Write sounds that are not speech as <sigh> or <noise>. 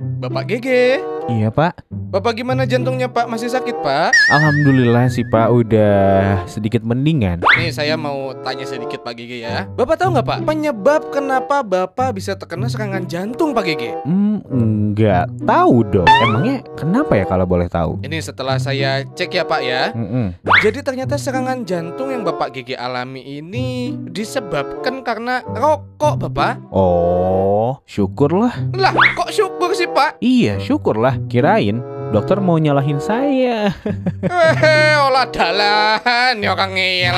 Bapak GG. Iya pak Bapak gimana jantungnya Pak? Masih sakit Pak? Alhamdulillah sih pak udah sedikit mendingan Nih saya mau tanya sedikit Pak GG ya. Bapak tahu nggak Pak penyebab kenapa Bapak bisa terkena serangan jantung Pak GG? Hmm nggak tahu dong Emangnya kenapa ya kalau boleh tahu Ini setelah saya cek ya Pak ya. Mm-mm. Jadi ternyata serangan jantung yang Bapak GG alami ini disebabkan karena rokok Bapak. Oh syukurlah Lah kok syukur sih Pak? <laughs> Iya syukurlah Kirain dokter mau nyalahin saya Hehehe, olah dalan, ya orang ngeyel.